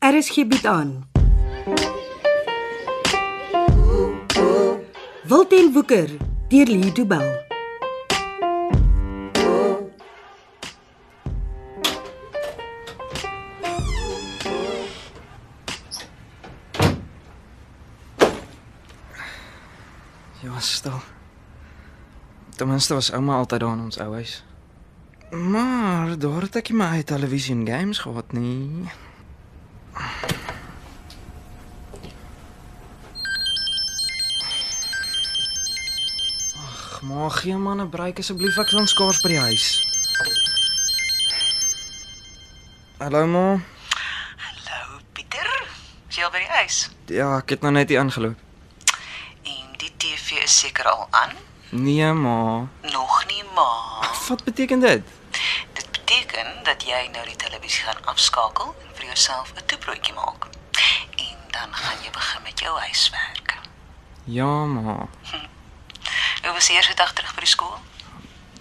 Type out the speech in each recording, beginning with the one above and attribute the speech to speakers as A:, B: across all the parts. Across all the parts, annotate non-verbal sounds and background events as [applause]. A: RSG bied Er aan. Wilten Woeker deur Lee Du Bell.
B: Jy was stil. Ten minste was ouma altyd daar in ons ou huis. Maar daar het ek nie my eie television games gehad nie. Ag, maar gee man 'n breek asseblief, ek staan skaars by die huis. Hallo ma.
C: Hallo Nou, Pieter, is jy al by die huis?
B: Ja, ek het nou net hier ingeloop.
C: En die TV is seker al aan?
B: Nee ma.
C: Nog nie, maar
B: Wat beteken dit?
C: dit beteken dat jy nou die televisie gaan afskakel en vir jouself 'n toebroodjie maak. En dan gaan jy begin met jou huiswerk.
B: Ja ma.
C: Hoe was die eerste dag terug by die skool?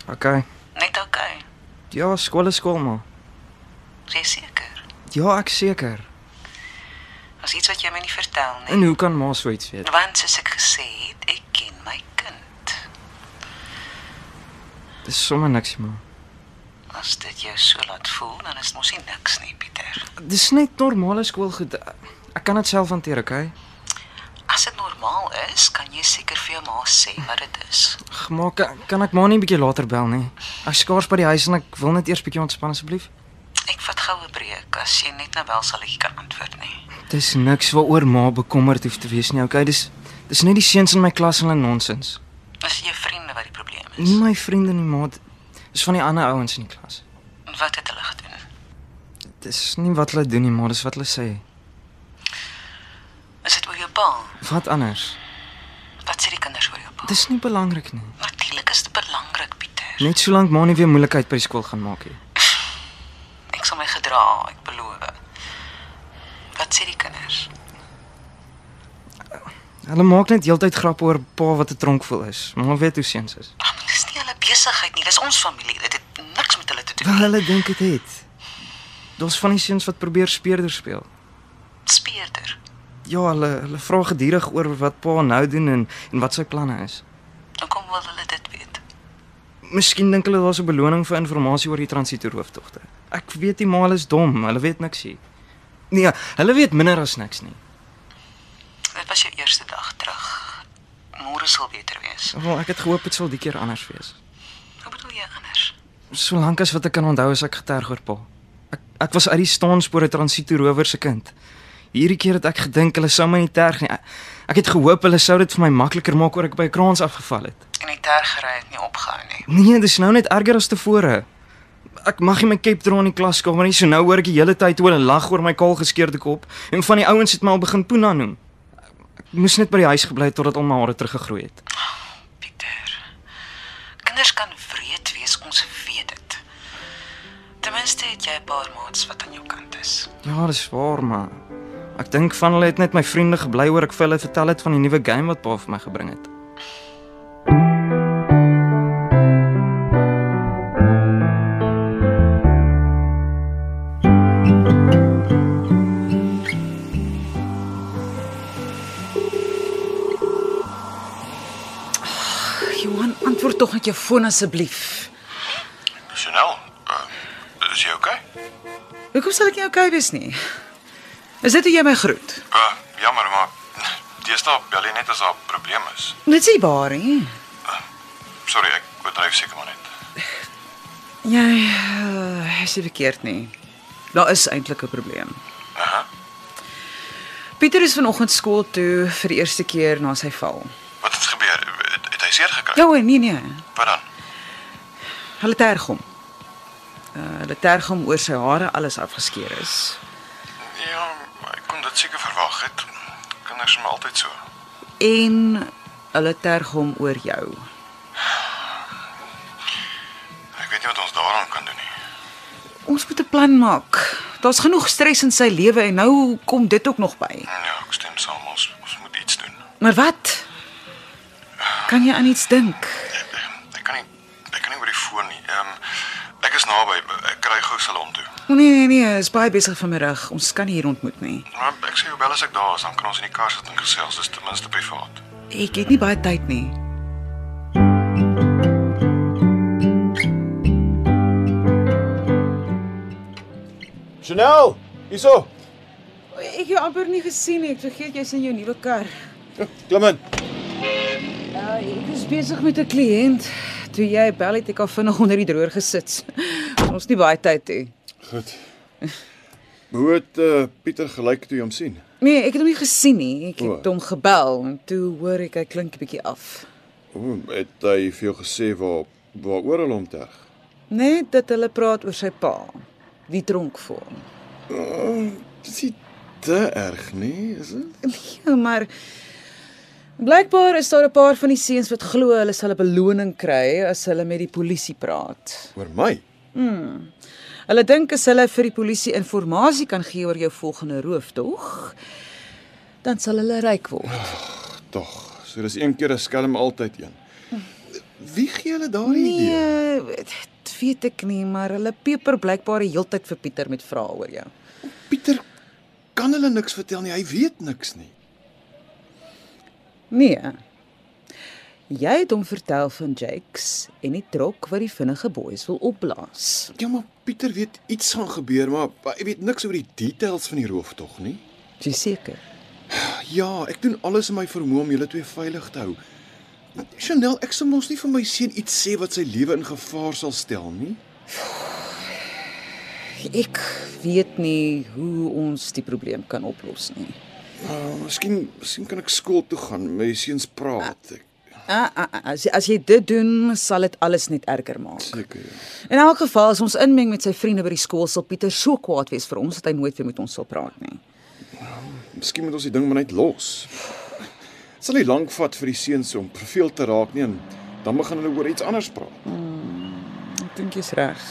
B: Okay.
C: Net oukei,
B: Ja, skool is skool maar.
C: is jy seker?
B: Ja, ek seker.
C: Was iets wat jy my nie vertel nie?
B: En hoe kan ma so iets weet?
C: Want soos ek gesê het, ek ken my kind.
B: Dis sommer niks ma.
C: As dit jou so laat voel, dan is dit mos nie niks nie, Pieter.
B: Dis net normale skoolgoed. Ek kan dit self hanteer, okay?
C: As dit normaal is, kan jy seker vir jou ma sê wat dit is.
B: Gemaak kan ek ma nie 'n bietjie later bel nie. Ek skaars by die huis en ek wil net eers bietjie ontspan asseblief.
C: Ek vat goue breek as jy net nou wel sal ek kan antwoord nie.
B: Dis niks waaroor ma bekommerd hoef te wees nie, okay? Dis dis net die seuns in my klas en hulle nonsens.
C: Dis jou vriende wat die probleem is.
B: Nie my vriende nie, ma. Dis van die ander ouens in die klas.
C: En wat het hulle gedoen?
B: Dis nie wat hulle doen nie, maar dis wat hulle sê.
C: Is dit oor jou pa?
B: Wat anders?
C: Wat sê die kinders oor jou pa?
B: Dis Nee. nie belangrik nie.
C: Natuurlik is dit belangrik, Pieter.
B: Net solank ma nie weer moeilikheid by die skool gaan maak nie.
C: Ek sal my gedra, ek beloof. Wat sê die kinders?
B: Hulle maak net heeltyd grappe oor pa wat 'n tronkvol is. Maar weet hoe seuns is.
C: Ag, maar dis nie hulle besigheid nie. Dis ons familie. Dit het niks met hulle te doen.
B: Wel Ja, hulle dink dit het, het. Daar's van die seuns wat probeer speerder speel.
C: Speerder.
B: Ja, hulle hulle vra gedurig oor wat pa nou doen en en wat sy planne is.
C: Hoekom wil hulle dit weet?
B: Miskien dink hulle daar's 'n beloning vir inligting oor die transitoerhooftogte. Ek weet die maal is dom, hulle weet niks hier. Nee, hulle weet minder as niks nie.
C: Dit was jou eerste dag terug. Môre sal beter wees.
B: Wel, ek het gehoop dit sal die keer anders wees.
C: Hoe bedoel jy anders?
B: Solank as wat ek kan onthou is ek geterg oor pa. Ek ek was uit die staanspore transito rower se kind. Hierdie keer het ek gedink hulle sou my nie terg nie. Ek, ek het gehoop hulle sou dit vir my makliker maak oor ek by 'n kraans afgeval het.
C: En die tergery het nie opgehou nie.
B: Nee, dis nou net erger as tevore. Ek mag nie my kep dra in die klaskamer nie, so nou hoor ek die hele tyd hoe hulle lag oor my kaal geskeurde kop en van die ouens het my al begin poena noem. Ek moes net by die huis gebly het totdat al my hare teruggegroei het.
C: Pieter. Kinders kan wreed wees, ons weet dit. Ten minste het jy 'n paar maats wat aan jou kant is.
B: Ja, dis waar, maar ek dink van hulle het net my vriende gebly oor ek vir hulle vertel het van die nuwe game wat pa vir my gebring het.
D: Johan, antwoord tog met jou foon asseblief.
E: Chanel, uh, is jy okay?
D: Hoekom sal ek nie okay wees nie? Is dit hoe jy my groet?
E: Uh, jammer maar [laughs] deesdae bel jy net as daar 'n probleem is.
D: Dit is nie waar nie.
E: Sorry, ek oordryf seker maar net.
D: Jy uh, is nie verkeerd nie. Daar is eintlik 'n probleem.
E: Aha.
D: Pieter is vanoggend skool toe vir die eerste keer na sy val.
E: Wat het gebeur? Het, het hy seer gekry?
D: Ja, o, nee nee.
E: Wat dan?
D: Hulle terg hom. Uh, hulle terg hom oor sy hare alles afgeskeer is.
E: Ja, ek kon dit seker verwag het. Kinders is maar altyd so.
D: En hulle terg hom oor jou.
E: Ek weet nie wat ons daaraan kan doen nie.
D: Ons moet 'n plan maak. Daar's genoeg stres in sy lewe en nou kom dit ook nog by.
E: Ja, ek stem saam. Ons, ons moet iets doen.
D: Maar wat? Kan jy aan iets dink?
E: Ek, ek kan nie ek kan nie oor die foon nie. Ehm um, ek is naby. Ek kry gou hulle om toe.
F: Nee, nee, is baie besig vanmiddag. Ons kan nie hier ontmoet nie.
G: Maar ek sê jou bel as ek daar is, dan kan ons in die kar sit en gesels, dis ten minste privaat.
F: Ek het nie baie tyd nie.
E: Chanel, hierso.
F: Ek het jou amper nie gesien nie. Ek vergeet jy's in jou nuwe kar.
E: Klim in.
F: Ja, ek is besig met 'n kliënt. Toe jy bel het ek al vinnig onder die droër gesit. [laughs] Ons nie baie tyd nie.
E: Goed. [laughs] Hoe het uh, Pieter gelyk toe jy hom sien?
F: Nee, ek het hom nie gesien nie. Ek het
E: O.
F: hom gebel en toe hoor ek hy klink 'n bietjie af.
E: O, het hy vir jou gesê waar waaroor hulle hom terg?
F: Net dat hulle praat oor sy pa, die dronk voor hom.
E: Dis nie te erg nie, is dit?
F: Ja, maar blykbaar is daar 'n paar van die seuns wat glo hulle sal 'n beloning kry as hulle met die polisie praat.
E: Oor my.
F: Hulle dink as hulle vir die polisie inligting kan gee oor jou volgende rooftog, dan sal hulle ryk word.
E: Tog, so dis een keer 'n skelm altyd een. Wie gee hulle daardie idee?
F: Nee, dit weet ek nie, maar hulle peper blykbaar die heeltyd vir Pieter met vrae oor jou.
E: Pieter kan hulle niks vertel nie. Hy weet niks nie.
F: Nee. Jy het hom vertel van Jakes en die trok wat die vinnige boeis wil opblaas.
E: Ja, maar Pieter weet iets gaan gebeur, maar hy weet niks oor die details van die rooftog nie.
F: Is Jy seker?
E: Ja, ek doen alles in my vermoë om julle twee veilig te hou. Chanel, ek sal mos nie vir my seun iets sê wat sy lewe in gevaar sal stel nie.
F: Ek weet nie hoe ons die probleem kan oplos nie.
E: Uh, miskien, miskien kan ek skool toe gaan, my seuns praat. Ek
F: Ah, ah, ah, as, as jy dit doen, sal dit alles net erger maak.
E: seker. ja.
F: In elk geval, as ons inmeng met sy vriende by die skool, sal Pieter so kwaad wees vir ons dat hy nooit weer met ons sal praat nie.
E: Miskien moet ons die ding maar net los. Dit sal nie lank vat vir die seuns om verveel te raak nie en dan begin hulle oor iets anders praat.
F: Ek dink jy's reg.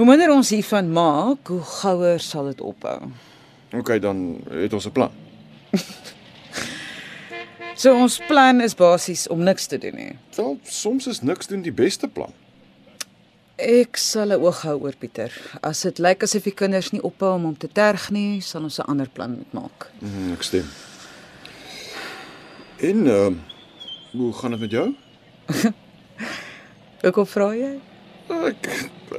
F: Hoe minder ons hiervan maak, hoe gouer sal dit ophou.
E: OK, dan het ons 'n plan.
F: So ons plan is basies om niks te doen nie.
E: Wel, soms is niks doen die beste plan.
F: Ek sal 'n oog hou oor Pieter. As dit lyk asof die kinders nie ophou om hom te terg nie, sal ons 'n ander plan moet maak.
E: Mm, ek stem. En ehm hoe gaan dit met jou?
F: Hoekom vra jy?
E: Ek ek,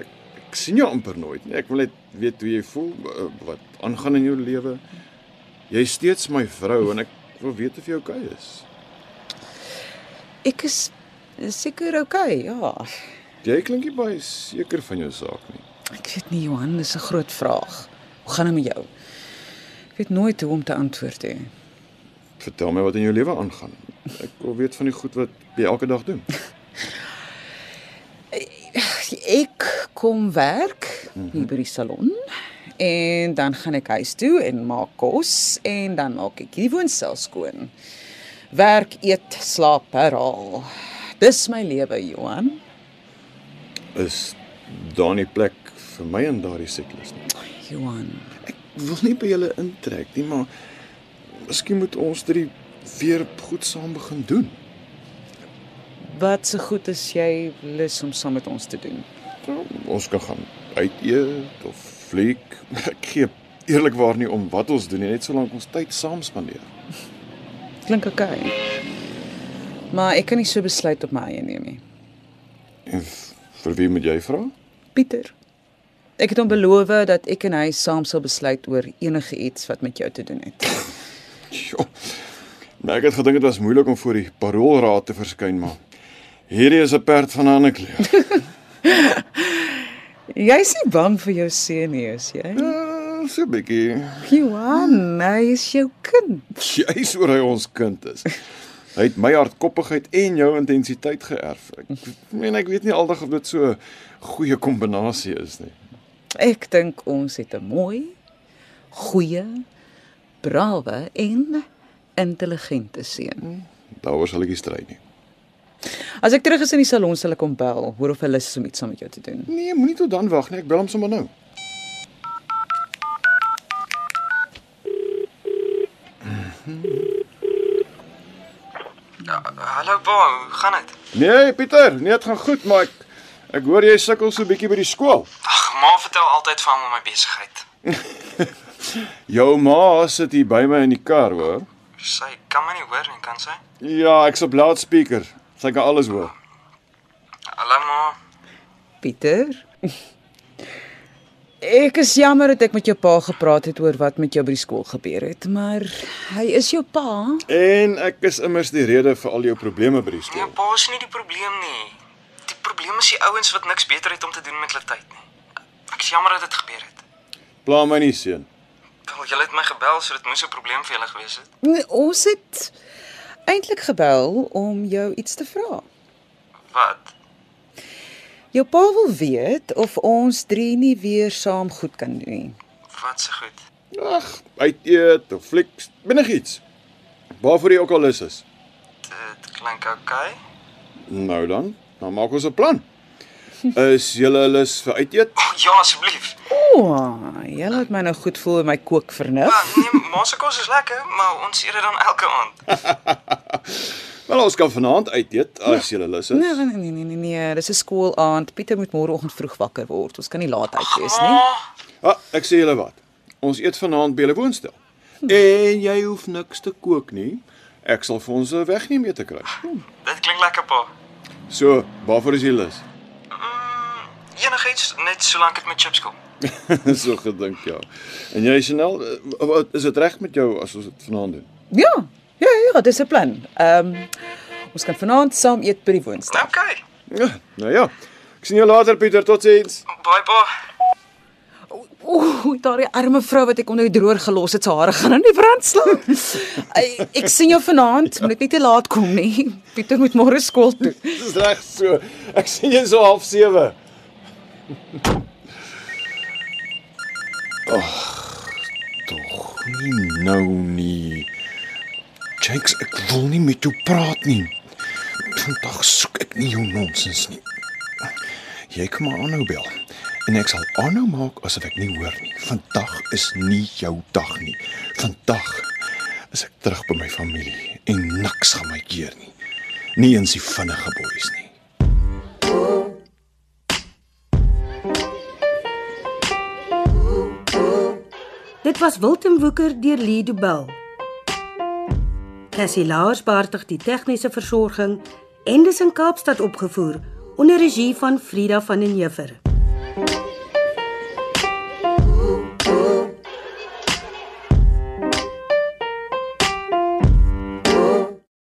E: ek sien jou amper nooit nie. Ek wil net weet hoe jy voel, eh, wat aangaan in jou lewe. Jy's steeds my vrou en ek wil weet of jy oukei okay is.
F: Ek is seker okay, ja.
E: Jy klink nie baie seker van jou saak nie.
F: Ek weet nie Johan, dis 'n groot vraag. Hoe gaan dit met jou? Ek weet nooit hoe om te antwoord nie.
E: Vertel my wat in jou lewe aangaan. Ek wil weet van die goed wat jy elke dag doen.
F: Ek kom werk hier by die salon en dan gaan ek huis toe en maak kos en dan maak ek die woonstel skoon. Werk, eet, slaap, herhaal. Dis my lewe, Johan.
E: Is daar nie plek vir my in daardie siklus nie?
F: Johan.
E: Ek wil nie by julle intrek nie, maar miskien moet ons drie weer goed saam begin doen.
F: Wat se so goed is jy lus om saam met ons te doen?
E: Nou, Ons kan gaan uit eet of fliek. [laughs] Ek gee eerlikwaar nie om wat ons doen nie, net solank ons tyd saam spandeer.
F: Klink oké. Maar ek kan nie so besluit op my eie neem nie.
E: En f- vir wie moet jy vra? [laughs]
F: Pieter. Ek het hom beloof dat ek en hy saam sal besluit oor enige iets wat met jou te doen het.
E: Jo. Maar ek het gedink dit was moeilik om voor die paroolraad te verskyn, maar hierdie is 'n perd van 'n ander kleur. [laughs]
F: Jy's nie bang vir jou seun nie, is jy?
E: Ja, so 'n bietjie.
F: Johan, hy is jou kind.
E: Jy's oor hy ons kind is. Hy het my hardkoppigheid en jou intensiteit geërf. Ek meen ek weet nie aldag of dit so 'n goeie kombinasie is nie.
F: Ek dink ons het 'n mooi, goeie, brawe en intelligente seun.
E: Daaroor sal ek nie stry nie.
F: As ek terug is in die salon sal ek hom bel, hoor of hy lus is om iets saam met jou te doen.
E: Nee, moenie tot dan wag nie. Ek bel hom sommer nou.
B: Hallo pa, hoe gaan dit?
E: Nee, Pieter, nee, dit gaan goed, maar ek ek hoor jy sukkel so bietjie by die skool.
B: Ag, ma vertel altyd vir hom om my besigheid.
E: Jou ma sit hier by my in die kar, hoor.
B: Sy kan my nie hoor nie, kan sy?
E: Ja, ek's op loudspeaker. Sy kan alles hoor.
B: Hallo ma.
F: Pieter. [laughs] Ek is jammer dat ek met jou pa gepraat het oor wat met jou by die skool gebeur het, maar hy is jou pa.
E: En ek is immers die rede vir al jou probleme by die
B: Jou
E: skool.
B: Ja, pa is nie die probleem nie. Die probleem is die ouens wat niks beter het om te doen met hulle tyd nie. Ek is jammer dat dit gebeur het.
E: Pla my nie, seun.
B: Wel, julle het my gebel, so dit moes 'n probleem vir julle gewees het.
F: Nee, Ons het eintlik gebel om jou iets te vra.
B: Wat?
F: Jou pa wil weet of ons drie nie weer saam goed kan doen nie.
B: Wat se goed.
E: Ag, uit eet of flieks, enigiets. Waarvoor jy ook al lus is.
B: Dit klink oukei.
E: Nou dan, dan maak ons 'n [laughs] plan. Is julle lus vir uit eet?
B: Okay. Ja, asseblief.
F: O, jy laat my nou goed voel en my kook vernuf.
B: Wel, Ah, nee, ma se kos is lekker, maar ons eet dit dan elke aand.
E: Wel, ons kan vanaand uit eet as julle lus is.
F: Nee, nee, nee, nee, nee, nee, dis 'n skoolaand. Pieter moet môreoggend vroeg wakker word. Ons kan nie laat uit wees nie.
B: Ma,
E: Ah, ek sê julle wat. Ons eet vanaand by julle woonstel. En jy hoef niks te kook nie. Ek sal vir ons 'n wegneem ete kry.
B: dit klink lekker, pa.
E: So, waarvoor is jy lus? [laughs]
B: Enigiets, net solank dit met chips kom.
E: so gedink ja. En jy Chanel, eh, wat is dit reg met jou as ons dit vanaand doen?
F: Ja, ja, ja, dis 'n plan. Ehm um, ons kan vanaand saam eet by die woonstel.
B: Okay.
E: Ja, nou ja. Ek sien jou later Pieter, totsiens.
B: Bye, pa.
F: Ooh, daardie arme vrou wat ek onder die droër gelos het, se hare gaan nou nie brand slaan. Ai, ek sien jou vanaand, moet ek net te laat kom nie. Pieter moet môre skool toe.
E: Dis reg so. Ek sien jou so half 7. Ag, tog nie nou nie. Jakes, ek wil nie met jou praat nie. Vandag soek ek nie jou nonsens nie. Jy kan maar aanhou bel. En ek sal aanhou maak asof ek nie hoor nie. Vandag is nie jou dag nie. Vandag is ek terug by my familie en niks gaan my keer nie. Nie eens die vinnige boeis nie.
D: Dit was Wilten Woeker deur Lido Bell. Cassie Lars beheerdig die tegniese versorging en dis in Kaapstad opgevoer onder regie van Frida van den Heever.